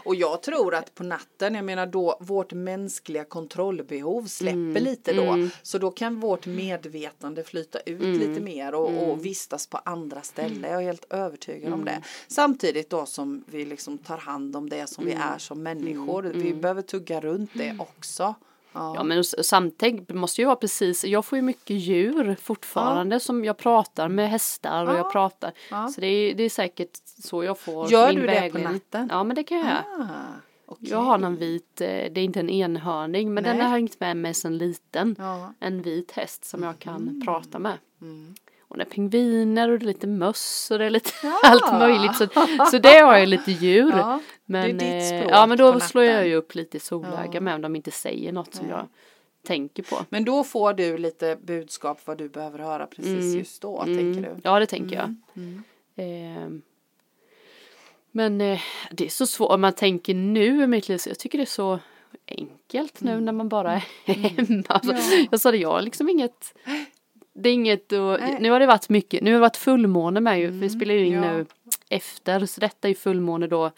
Speaker 1: Och jag tror att på natten, jag menar då, vårt mänskliga kontrollbehov släpper
Speaker 2: Mm,
Speaker 1: lite då. Så då kan vårt medvetande flyta ut
Speaker 2: Mm,
Speaker 1: lite mer och, och vistas på andra ställen. Jag är helt övertygad om
Speaker 2: Mm.
Speaker 1: det. Samtidigt då som vi liksom tar hand om det som
Speaker 2: Mm.
Speaker 1: vi är som människor. Vi behöver tugga runt det också. Ja.
Speaker 2: Ja men s- samtidigt måste ju vara precis, jag får ju mycket djur fortfarande som jag pratar med hästar och
Speaker 1: Ja.
Speaker 2: jag pratar.
Speaker 1: Ja.
Speaker 2: Så det är, det är säkert så jag får
Speaker 1: Gör du det på
Speaker 2: vägledning.
Speaker 1: natten?
Speaker 2: Ja men det kan jag göra.
Speaker 1: Ah, okej.
Speaker 2: Jag har någon vit, eh, det är inte en enhörning men
Speaker 1: Nej.
Speaker 2: den har hängt med mig sedan liten.
Speaker 1: Ja. Mm.
Speaker 2: En vit häst som jag kan prata med. Och det är pingviner och det är lite möss och det är lite allt möjligt. Så, så det har jag lite djur.
Speaker 1: Ja, det är
Speaker 2: men,
Speaker 1: ditt
Speaker 2: eh,
Speaker 1: språk
Speaker 2: ja men
Speaker 1: på
Speaker 2: då slår jag
Speaker 1: natten.
Speaker 2: ju upp lite i solöga med om de inte säger något som jag tänker på.
Speaker 1: Men då får du lite budskap vad du behöver höra precis
Speaker 2: Mm.
Speaker 1: just då, tänker du? Mm.
Speaker 2: Ja, det tänker jag. Ehm, men eh, det är så svårt, om man tänker nu i mitt liv, så jag tycker det är så enkelt nu när man bara är hemma. Alltså,
Speaker 1: Mm. Ja.
Speaker 2: Jag sa det, jag har liksom inget, det är inget, och,
Speaker 1: Nej. Mm.
Speaker 2: nu har det varit mycket, nu har det varit fullmåne med ju, för vi spelar ju in
Speaker 1: ja.
Speaker 2: nu efter, så detta är ju fullmåne då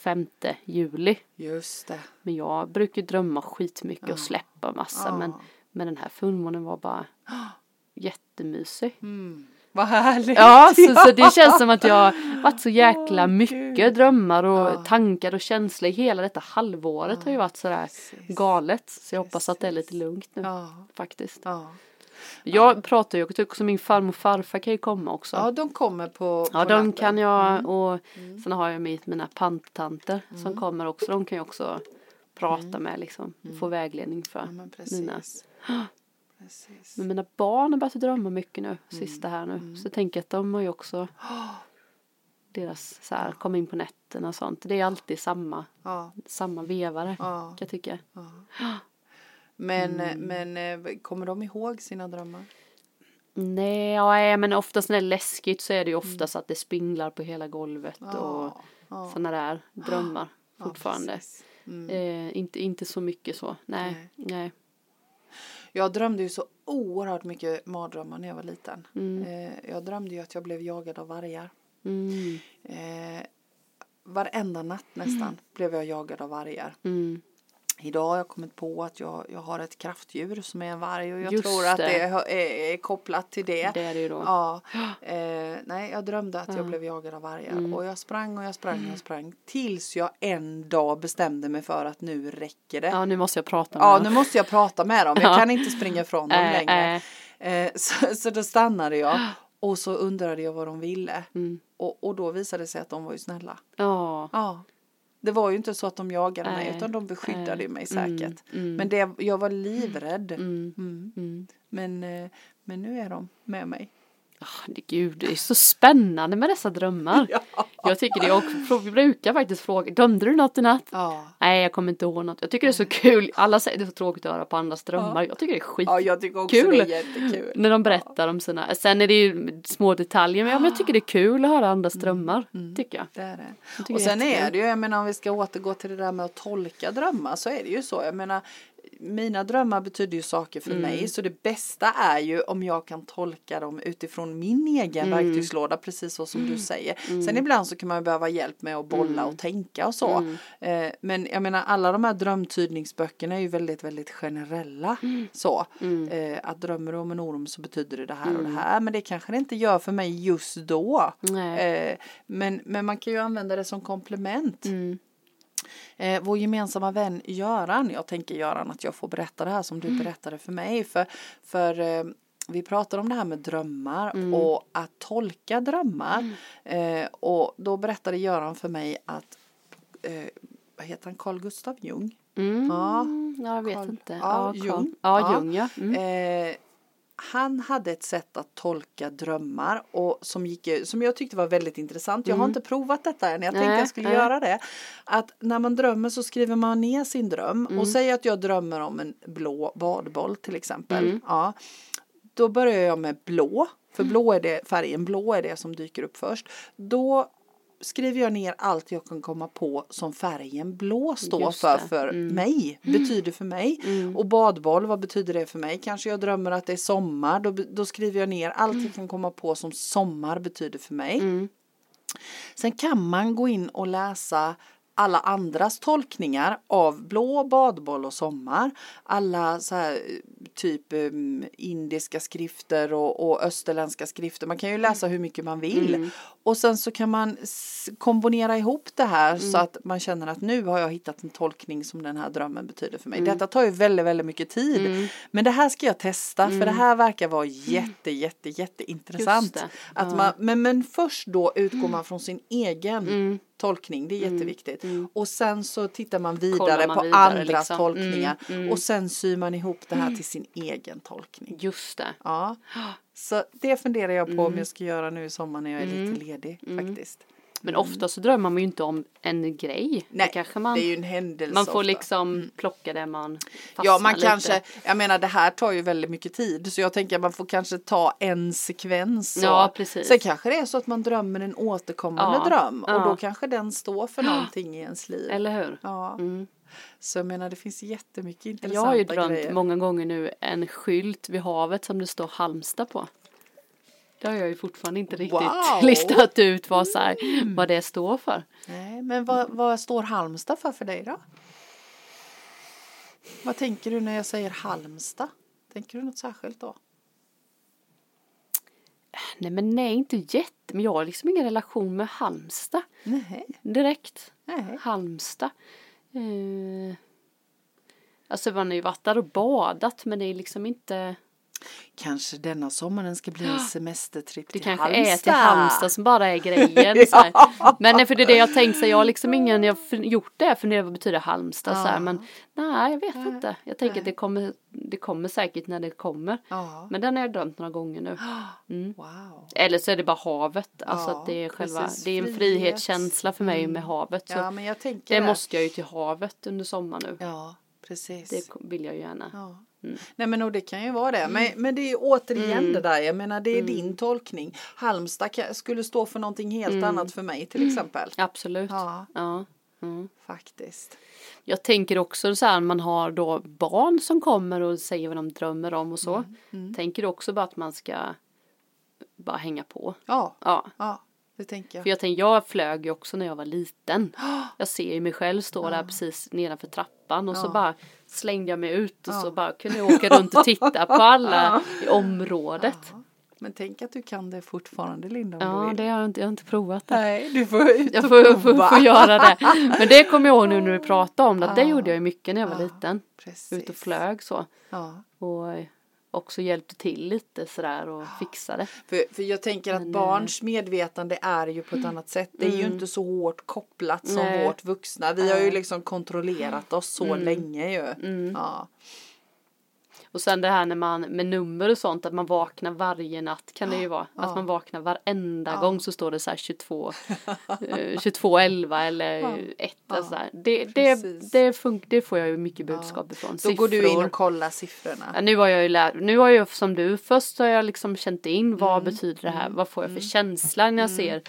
Speaker 2: 5 juli.
Speaker 1: Just det.
Speaker 2: Men jag brukar ju drömma skitmycket och släppa massa,
Speaker 1: Ja.
Speaker 2: men, men den här fullmånen var bara jättemysig.
Speaker 1: Vad härligt.
Speaker 2: Ja, så, så det känns som att jag har varit så jäkla mycket
Speaker 1: Gud.
Speaker 2: drömmar och tankar och känslor. Hela detta halvåret har ju varit sådär galet. Så jag hoppas att det är lite lugnt nu
Speaker 1: Ja.
Speaker 2: faktiskt.
Speaker 1: Ja.
Speaker 2: Jag pratar ju, jag tycker också typ min farmor och farfar kan ju komma också.
Speaker 1: ja, Mm.
Speaker 2: Ja,
Speaker 1: de kommer på, på
Speaker 2: de
Speaker 1: natten.
Speaker 2: kan jag och sen har jag mitt, mina panttanter
Speaker 1: Mm.
Speaker 2: som kommer också. De kan jag också prata med liksom. Få
Speaker 1: Mm.
Speaker 2: vägledning för
Speaker 1: Ja, men precis.
Speaker 2: mina.
Speaker 1: precis.
Speaker 2: Men mina barn har börjat drömma mycket nu,
Speaker 1: Mm.
Speaker 2: sista här nu. Så jag tänker att de har ju också deras så här, komma in på nätterna och sånt. Det är alltid samma,
Speaker 1: Ja,
Speaker 2: samma vevare
Speaker 1: ja.
Speaker 2: kan jag tycka.
Speaker 1: Men, men eh, kommer de ihåg sina drömmar?
Speaker 2: Nej, ja, nej, men oftast när det är läskigt så är
Speaker 1: Mm.
Speaker 2: det ju oftast att det spindlar på hela golvet och
Speaker 1: ja.
Speaker 2: sådana där drömmar
Speaker 1: Ja,
Speaker 2: fortfarande.
Speaker 1: precis. Mm.
Speaker 2: eh, inte, inte så mycket så, nej, nej.
Speaker 1: Jag drömde ju så oerhört mycket mardrömmar när jag var liten. Eh, Jag drömde ju att jag blev jagad av vargar.
Speaker 2: Mm,
Speaker 1: Eh, varenda natt nästan blev jag jagad av vargar.
Speaker 2: mm,
Speaker 1: Idag har jag kommit på att jag, jag har ett kraftdjur som är en varg och jag
Speaker 2: Just
Speaker 1: tror att det,
Speaker 2: det.
Speaker 1: hö- är, är kopplat till det.
Speaker 2: det är det ju då.
Speaker 1: Ja, eh, nej jag drömde att jag blev jagad av vargar
Speaker 2: Mm.
Speaker 1: och jag sprang och jag sprang och jag sprang tills jag en dag bestämde mig för att nu räcker det. Ja,
Speaker 2: Ja, nu måste jag prata med
Speaker 1: nu måste jag prata med dem, jag
Speaker 2: Ja.
Speaker 1: kan inte springa ifrån dem
Speaker 2: Äh,
Speaker 1: längre.
Speaker 2: äh.
Speaker 1: Eh, så, så då stannade jag och så undrade jag vad de ville
Speaker 2: Mm.
Speaker 1: och, och då visade det sig att de var ju snälla.
Speaker 2: Ja,
Speaker 1: Ja. Det var ju inte så att de jagade mig
Speaker 2: Nej,
Speaker 1: utan de beskyddade
Speaker 2: nej.
Speaker 1: ju mig
Speaker 2: Mm,
Speaker 1: säkert.
Speaker 2: mm.
Speaker 1: Men det, jag var livrädd.
Speaker 2: mm,
Speaker 1: Mm.
Speaker 2: mm.
Speaker 1: Men, eh, men nu är de med mig.
Speaker 2: Ah, det- Gud, det är så spännande med dessa drömmar. Jag tycker det också, vi brukar faktiskt fråga, dömde du något i natt?
Speaker 1: Ja.
Speaker 2: Nej, jag kommer inte ihåg något. Jag tycker det är så kul, alla säger det är så tråkigt att höra på andras drömmar. Jag tycker det är skit.
Speaker 1: ja, jag tycker också
Speaker 2: Kul.
Speaker 1: det är jättekul.
Speaker 2: När de berättar om sina, sen är det ju små detaljer, men ja, men jag tycker det är kul att höra andras
Speaker 1: Mm,
Speaker 2: drömmar, tycker jag.
Speaker 1: Det är det.
Speaker 2: tycker
Speaker 1: Och
Speaker 2: det är
Speaker 1: sen är
Speaker 2: jättekul.
Speaker 1: det ju, jag menar om vi ska återgå till det där med att tolka drömmar så är det ju så. Jag menar, mina drömmar betyder ju saker för
Speaker 2: Mm.
Speaker 1: mig så det bästa är ju om jag kan tolka dem utifrån min egen
Speaker 2: Mm.
Speaker 1: verktygslåda precis så som du säger. Sen ibland så kan man ju behöva hjälp med att bolla
Speaker 2: Mm.
Speaker 1: och tänka och så. Eh, men jag menar alla de här drömtydningsböckerna är ju väldigt väldigt generella.
Speaker 2: Mm.
Speaker 1: Så eh, att drömmer du om en orm så betyder det det här
Speaker 2: Mm.
Speaker 1: och det här men det kanske det inte gör för mig just då.
Speaker 2: Nej. Mm.
Speaker 1: Eh, men, men man kan ju använda det som komplement. Eh, vår gemensamma vän Göran, jag tänker Göran att jag får berätta det här som du berättade för mig. För, för eh, vi pratar om det här med drömmar och att tolka drömmar. Eh, och då berättade Göran för mig att, eh, vad heter han, Carl Gustav Jung?
Speaker 2: Mm.
Speaker 1: Ja.
Speaker 2: Ja, jag vet
Speaker 1: Carl-
Speaker 2: inte.
Speaker 1: Ja,
Speaker 2: Carl.
Speaker 1: Jung.
Speaker 2: Ja,
Speaker 1: Ja.
Speaker 2: Jung ja. Mm.
Speaker 1: Eh, han hade ett sätt att tolka drömmar och som, gick, som jag tyckte var väldigt intressant. Jag har inte provat detta än, jag tänkte
Speaker 2: Mm. Nej,
Speaker 1: jag skulle
Speaker 2: nej.
Speaker 1: göra det. Att när man drömmer så skriver man ner sin dröm
Speaker 2: Mm.
Speaker 1: och säg att jag drömmer om en blå badboll till exempel.
Speaker 2: Mm.
Speaker 1: Ja. Då börjar jag med blå, för blå är det, färgen blå är det som dyker upp först. Då skriver jag ner allt jag kan komma på som färgen blå står
Speaker 2: Just
Speaker 1: för
Speaker 2: det. Mm.
Speaker 1: för mig, betyder för mig. Och badboll, vad betyder det för mig? Kanske jag drömmer att det är sommar, då, då skriver jag ner allt jag kan komma på som sommar betyder för mig. Sen kan man gå in och läsa alla andras tolkningar av blå, badboll och sommar. Alla så här, eh, typ eh, indiska skrifter och, och österländska skrifter. Man kan ju läsa hur mycket man vill.
Speaker 2: Mm.
Speaker 1: Och sen så kan man s- kombinera ihop det här så
Speaker 2: Mm.
Speaker 1: att man känner att nu har jag hittat en tolkning som den här drömmen betyder för mig.
Speaker 2: Mm.
Speaker 1: Detta tar ju väldigt, väldigt mycket tid. Men det här ska jag testa för det här verkar vara jätte, jätte,
Speaker 2: Mm. Just
Speaker 1: jätteintressant.
Speaker 2: det.
Speaker 1: Att man, men, men först då utgår man från sin egen
Speaker 2: Mm.
Speaker 1: tolkning, det är jätteviktigt. Och sen så tittar man vidare
Speaker 2: Kollar man
Speaker 1: på
Speaker 2: vidare,
Speaker 1: andras
Speaker 2: liksom.
Speaker 1: tolkningar och sen syr man ihop det här till sin egen tolkning.
Speaker 2: Just det.
Speaker 1: Ja. Så det funderar jag på
Speaker 2: Mm.
Speaker 1: om jag ska göra nu i sommar när jag är lite ledig faktiskt.
Speaker 2: Men ofta så drömmer man ju inte om en grej.
Speaker 1: Mm. Nej,
Speaker 2: det kanske man,
Speaker 1: det är ju en händelse
Speaker 2: man får
Speaker 1: ofta. Mm.
Speaker 2: liksom plocka det man fastnar
Speaker 1: Ja, man
Speaker 2: lite.
Speaker 1: kanske, jag menar det här tar ju väldigt mycket tid så jag tänker att man får kanske ta en sekvens. och-
Speaker 2: Ja, precis.
Speaker 1: Sen kanske det är så att man drömmer en återkommande
Speaker 2: Ja,
Speaker 1: dröm och
Speaker 2: ja.
Speaker 1: då kanske den står för någonting i ens liv.
Speaker 2: Eller hur?
Speaker 1: Ja. Så jag menar det finns jättemycket
Speaker 2: Jag
Speaker 1: intressanta
Speaker 2: har ju drömt
Speaker 1: grejer.
Speaker 2: många gånger nu en skylt vid havet som det står Halmstad på. Det har jag ju fortfarande inte riktigt
Speaker 1: Wow. Mm.
Speaker 2: listat ut vad, så här, vad det står för.
Speaker 1: Nej, men vad, vad står Halmstad för för dig då? Vad tänker du när jag säger Halmstad? Tänker du något särskilt då?
Speaker 2: Nej men nej, inte jätte, men jag har liksom ingen relation med Halmstad
Speaker 1: Nej.
Speaker 2: direkt.
Speaker 1: Nej.
Speaker 2: Halmstad. Eh, alltså man har ju varit där och badat men det är liksom inte
Speaker 1: Kanske denna sommaren ska bli en semestertripp
Speaker 2: Det
Speaker 1: till
Speaker 2: kanske
Speaker 1: Halmstad.
Speaker 2: är till Halmstad som bara är grejen. så här. Men nej, för det är det jag tänkt så här, jag har liksom ingen, jag har fun- gjort det, jag funderar vad betyder Halmstad så här, men nej jag vet inte. Jag tänker att det kommer, det kommer säkert när det kommer.
Speaker 1: Ja.
Speaker 2: Men den har jag drömt några gånger nu. Mm.
Speaker 1: Wow.
Speaker 2: Eller så är det bara havet, alltså
Speaker 1: Ja,
Speaker 2: att det är själva,
Speaker 1: precis.
Speaker 2: det är en
Speaker 1: Frihet. Mm.
Speaker 2: frihetskänsla för mig med havet. Så
Speaker 1: Ja, men jag tänker
Speaker 2: det måste jag ju till havet under sommaren nu.
Speaker 1: Ja, precis.
Speaker 2: Det ko- vill jag ju gärna.
Speaker 1: Ja. Mm. Nej men och det kan ju vara det.
Speaker 2: Mm.
Speaker 1: Men, men det är ju återigen det där. Jag menar det är din tolkning. Halmstad kan, skulle stå för någonting helt
Speaker 2: Mm.
Speaker 1: annat för mig till exempel.
Speaker 2: Absolut.
Speaker 1: Ja.
Speaker 2: Ja. Mm.
Speaker 1: Faktiskt.
Speaker 2: Jag tänker också så här, man har då barn som kommer och säger vad de drömmer om och så.
Speaker 1: Mm,
Speaker 2: Tänker också bara att man ska bara hänga på.
Speaker 1: Ja,
Speaker 2: Ja,
Speaker 1: ja det tänker jag.
Speaker 2: för jag tänker, jag flög ju också när jag var liten. Jag ser ju mig själv stå där precis nedanför trappan och så bara slängde jag mig ut och så bara kunde jag åka runt och titta på alla i området.
Speaker 1: Men tänk att du kan det fortfarande Linda om du
Speaker 2: Ja,
Speaker 1: vill.
Speaker 2: det har jag inte, jag har inte provat det.
Speaker 1: Nej, du får ut
Speaker 2: Jag
Speaker 1: och
Speaker 2: får, får,
Speaker 1: prova.
Speaker 2: får göra det. Men det kommer jag ihåg nu när du pratade om det, att det gjorde jag ju mycket när jag var liten.
Speaker 1: Precis.
Speaker 2: Ut och flög så.
Speaker 1: Ja.
Speaker 2: och också hjälpte till lite sådär
Speaker 1: Ah.
Speaker 2: och fixade.
Speaker 1: För, för jag tänker att
Speaker 2: eh,
Speaker 1: barns medvetande är ju på ett annat sätt. Det är ju inte så hårt kopplat som
Speaker 2: mm. Nej. Mm.
Speaker 1: vårt vuxna. Vi har ju liksom kontrollerat oss så länge ju. Ja.
Speaker 2: Och sen det här när man med nummer och sånt att man vaknar varje natt kan det
Speaker 1: Ah,
Speaker 2: ju vara. Att man vaknar varenda gång så står det så här 22, eh, 22 11 eller 1 eller så där. Det, det,
Speaker 1: Ah. Precis. Ah.
Speaker 2: det, fun- det får jag ju mycket budskap ifrån.
Speaker 1: Då går du in och kollar siffrorna.
Speaker 2: Ja, nu har jag ju lärt, nu har jag som du, först har jag liksom känt in vad
Speaker 1: Mm.
Speaker 2: betyder det här, vad får jag för känsla när jag ser,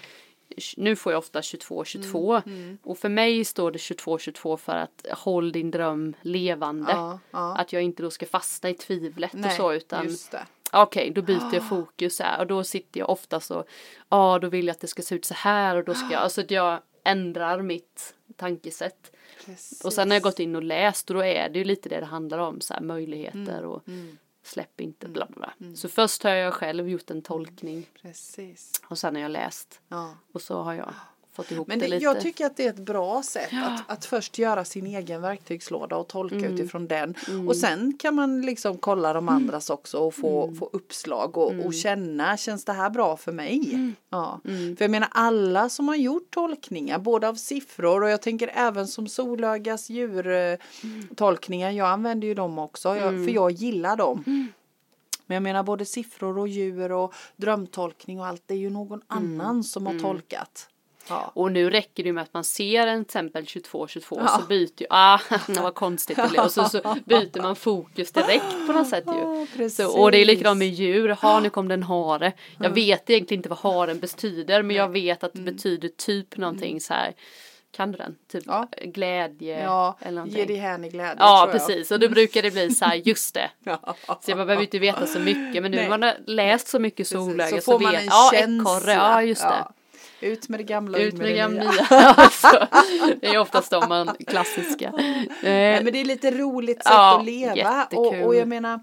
Speaker 2: nu får jag ofta
Speaker 1: Mm.
Speaker 2: 22, 22 och för mig står det 22, 22 för att håll din dröm levande.
Speaker 1: Ja, ja.
Speaker 2: Att jag inte då ska fastna i tvivlet och
Speaker 1: Nej,
Speaker 2: så utan
Speaker 1: just Ah. det.
Speaker 2: Okej, då byter jag fokus här och då sitter jag ofta så, ja då vill jag att det ska se ut så här och då
Speaker 1: Ah.
Speaker 2: ska jag, alltså att jag ändrar mitt tankesätt.
Speaker 1: Precis.
Speaker 2: Och sen har jag gått in och läst och då är det ju lite det det handlar om, så här, möjligheter
Speaker 1: Mm,
Speaker 2: och släpp inte bla bla. bla. Så först har jag själv gjort en tolkning
Speaker 1: Precis.
Speaker 2: och sen har jag läst
Speaker 1: Ja.
Speaker 2: och så har jag fått ihop
Speaker 1: Men
Speaker 2: det,
Speaker 1: det,
Speaker 2: lite.
Speaker 1: jag tycker att det är ett bra sätt
Speaker 2: Ja.
Speaker 1: att, att först göra sin egen verktygslåda och tolka
Speaker 2: Mm.
Speaker 1: utifrån den.
Speaker 2: Mm.
Speaker 1: Och sen kan man liksom kolla de andras också och få,
Speaker 2: Mm.
Speaker 1: få uppslag och, och känna, känns det här bra för mig? Ja.
Speaker 2: Mm.
Speaker 1: För jag menar alla som har gjort tolkningar, både av siffror och jag tänker även som Solögas
Speaker 2: Mm.
Speaker 1: djurtolkningar, jag använder ju dem också, jag, för jag gillar dem.
Speaker 2: Mm.
Speaker 1: Men jag menar både siffror och djur och drömtolkning och allt, det är ju
Speaker 2: Mm.
Speaker 1: någon annan som har tolkat. Ja.
Speaker 2: Och nu räcker det ju med att man ser en till exempel 22-22
Speaker 1: Ja.
Speaker 2: så byter ju, ah, vad konstigt det blev. Och så, så byter man fokus direkt på något sätt ju.
Speaker 1: Ja, precis. Mm.
Speaker 2: Så, och det är likadant med djur, ha nu kom den hare. Jag vet egentligen inte vad haren betyder men jag vet att det betyder typ någonting så här. Kan du den? Typ
Speaker 1: Mm. Ja.
Speaker 2: glädje
Speaker 1: Ja,
Speaker 2: Eh, eller någonting.
Speaker 1: ge dig hän i glädje
Speaker 2: Ja,
Speaker 1: tror jag.
Speaker 2: precis. Och då brukar det bli så här, just det. Så man behöver ju inte veta så mycket men nu
Speaker 1: Nej.
Speaker 2: när man har läst så mycket
Speaker 1: Precis,
Speaker 2: solöga så,
Speaker 1: så får
Speaker 2: vet
Speaker 1: man en
Speaker 2: ja,
Speaker 1: känsla.
Speaker 2: ekorre, ja just det.
Speaker 1: Ja. Ut med det gamla
Speaker 2: Ut med det gamla
Speaker 1: nya.
Speaker 2: nya. Alltså, det är oftast de man klassiska.
Speaker 1: Nej,
Speaker 2: Eh,
Speaker 1: men det är lite roligt sätt
Speaker 2: Ja,
Speaker 1: att leva och,
Speaker 2: jättekul.
Speaker 1: och jag menar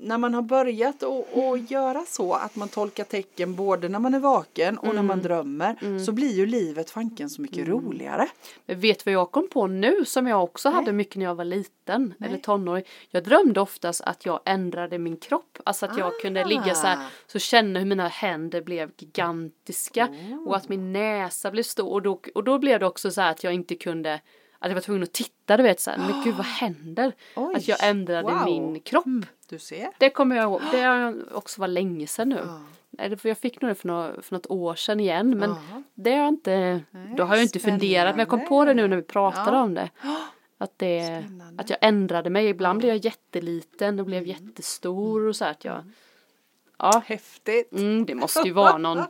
Speaker 1: när man har börjat att- att göra så att man tolkar tecken både när man är vaken och när
Speaker 2: Mm.
Speaker 1: man drömmer så blir ju livet fanken så mycket roligare.
Speaker 2: men vet vad jag kom på nu som jag också hade mycket när jag var liten
Speaker 1: Nej.
Speaker 2: eller tonåring. Jag drömde oftast att jag ändrade min kropp, alltså att jag kunde ligga så här
Speaker 1: Ah.
Speaker 2: så känna hur mina händer blev gigantiska och att
Speaker 1: Oh.
Speaker 2: min näsa blev stor och då, och då blev det också så här att jag inte kunde att jag var tvungen att titta du vet så här, men gud vad händer?
Speaker 1: Ah. Oj,
Speaker 2: att jag ändrade
Speaker 1: wow. Mm.
Speaker 2: min kropp.
Speaker 1: Du ser.
Speaker 2: Det kommer jag ihåg. Det har också var länge sedan nu.
Speaker 1: Ja.
Speaker 2: Nej, det- för Jag fick nog det för, några, för något år sedan igen men
Speaker 1: Ja.
Speaker 2: det har jag inte,
Speaker 1: Nej,
Speaker 2: då har jag inte funderat men jag kom på det nu när vi pratade om det. Att, det,
Speaker 1: Spännande. Mm.
Speaker 2: att jag ändrade mig, ibland blev jag jätteliten och blev jättestor och så här att jag, ja,
Speaker 1: Häftigt.
Speaker 2: mm, det måste ju vara någon,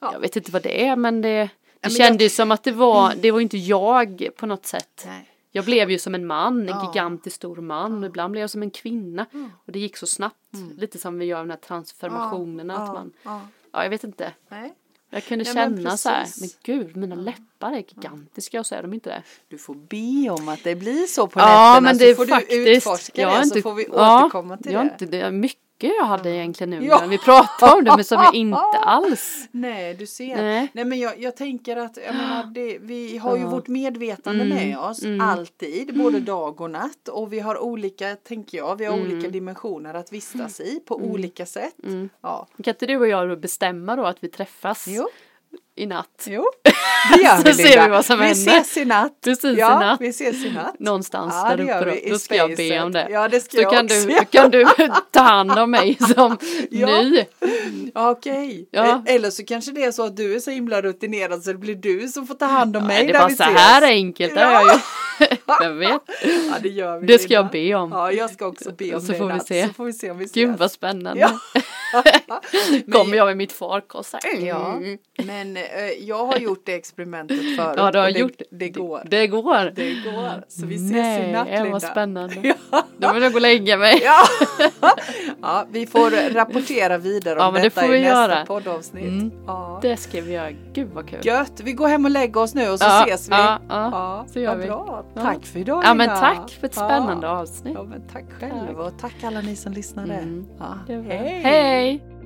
Speaker 2: jag vet inte vad det är men det, det
Speaker 1: men
Speaker 2: kändes som att det var, det var inte jag på något sätt.
Speaker 1: Nej.
Speaker 2: Jag blev ju som en man, en
Speaker 1: Ja.
Speaker 2: gigantisk stor man och ibland blev jag som en kvinna. Och det gick så snabbt, lite som vi gör med de här transformationerna. Att
Speaker 1: Ja,
Speaker 2: man,
Speaker 1: ja.
Speaker 2: Mm. ja, jag vet inte.
Speaker 1: Nej.
Speaker 2: Jag kunde
Speaker 1: Nej, men
Speaker 2: känna så här, men
Speaker 1: precis.
Speaker 2: gud, mina läppar är gigantiska och så är de inte det.
Speaker 1: Du får be om att det blir så på
Speaker 2: Ja,
Speaker 1: nätterna
Speaker 2: men det
Speaker 1: så
Speaker 2: är
Speaker 1: får
Speaker 2: faktiskt,
Speaker 1: du utforska
Speaker 2: jag
Speaker 1: det
Speaker 2: har
Speaker 1: så får vi
Speaker 2: ja,
Speaker 1: återkomma till
Speaker 2: jag har
Speaker 1: det.
Speaker 2: Inte, det Mm. är mycket jag hade egentligen nu
Speaker 1: Ja.
Speaker 2: när vi pratade om det, men som jag inte alls.
Speaker 1: Nej, du ser.
Speaker 2: Nej.
Speaker 1: Nej, men jag, jag tänker att jag menar, det, vi har ju
Speaker 2: Ja. Mm.
Speaker 1: vårt medvetande med oss alltid, både dag och natt. Och vi har olika, tänker jag, vi har
Speaker 2: Mm.
Speaker 1: olika dimensioner att vistas i på olika sätt. Ja.
Speaker 2: Kan inte du och jag då bestämma då att vi träffas
Speaker 1: Jo,
Speaker 2: i natt?
Speaker 1: jo, det gör
Speaker 2: Så
Speaker 1: vi
Speaker 2: ser
Speaker 1: Linda.
Speaker 2: vi vad som
Speaker 1: vi
Speaker 2: händer.
Speaker 1: ses i natt.
Speaker 2: Precis, i
Speaker 1: ja,
Speaker 2: natt.
Speaker 1: vi ses i natt.
Speaker 2: Någonstans
Speaker 1: Ja,
Speaker 2: där
Speaker 1: det gör
Speaker 2: uppe
Speaker 1: vi
Speaker 2: då.
Speaker 1: i
Speaker 2: Då ska jag be om det.
Speaker 1: spacet. Ja, det ska
Speaker 2: då
Speaker 1: jag
Speaker 2: kan
Speaker 1: också
Speaker 2: du,
Speaker 1: göra.
Speaker 2: kan du ta hand om mig som
Speaker 1: Ja.
Speaker 2: ny.
Speaker 1: Ja, Okej,
Speaker 2: Ja.
Speaker 1: E- eller så kanske det är så att du är så himla rutinerad så det blir du som får ta hand om mig
Speaker 2: Nej, det
Speaker 1: när
Speaker 2: var
Speaker 1: vi
Speaker 2: så
Speaker 1: ses.
Speaker 2: här enkelt. Det har jag ju. Vem vet?
Speaker 1: Ja, det gör vi.
Speaker 2: Det ska jag
Speaker 1: Linda.
Speaker 2: be om.
Speaker 1: Ja, jag ska också be om
Speaker 2: Så
Speaker 1: det i
Speaker 2: får vi
Speaker 1: natt,
Speaker 2: se.
Speaker 1: Så får vi se om vi ses.
Speaker 2: Gud vad spännande.
Speaker 1: Ja.
Speaker 2: Kommer jag med mitt farkost så här.
Speaker 1: Ja, men eh, jag har gjort det experimentet förut.
Speaker 2: Ja, du har
Speaker 1: och det,
Speaker 2: gjort
Speaker 1: det. går.
Speaker 2: Det går.
Speaker 1: Det går. Så vi ses
Speaker 2: Nej,
Speaker 1: i natt,
Speaker 2: det
Speaker 1: Linda.
Speaker 2: var spännande.
Speaker 1: Ja.
Speaker 2: Då vill jag gå och lägga mig.
Speaker 1: Ja. ja, vi får rapportera vidare om
Speaker 2: Ja, men det
Speaker 1: detta
Speaker 2: får vi
Speaker 1: i nästa
Speaker 2: göra.
Speaker 1: poddavsnitt.
Speaker 2: Mm.
Speaker 1: Ja.
Speaker 2: Det ska vi göra. Gud vad kul.
Speaker 1: Gött, vi går hem och lägger oss nu och så
Speaker 2: Ja,
Speaker 1: ses vi.
Speaker 2: ja, ja. Så gör
Speaker 1: vad
Speaker 2: vi.
Speaker 1: Bra.
Speaker 2: Ja.
Speaker 1: Tack för idag
Speaker 2: Ja men
Speaker 1: Linda.
Speaker 2: tack för ett spännande
Speaker 1: ja.
Speaker 2: avsnitt.
Speaker 1: Ja, men tack själv och tack alla ni som lyssnade.
Speaker 2: Mm.
Speaker 1: Ja.
Speaker 2: Det var-
Speaker 1: Hej.
Speaker 2: Hej.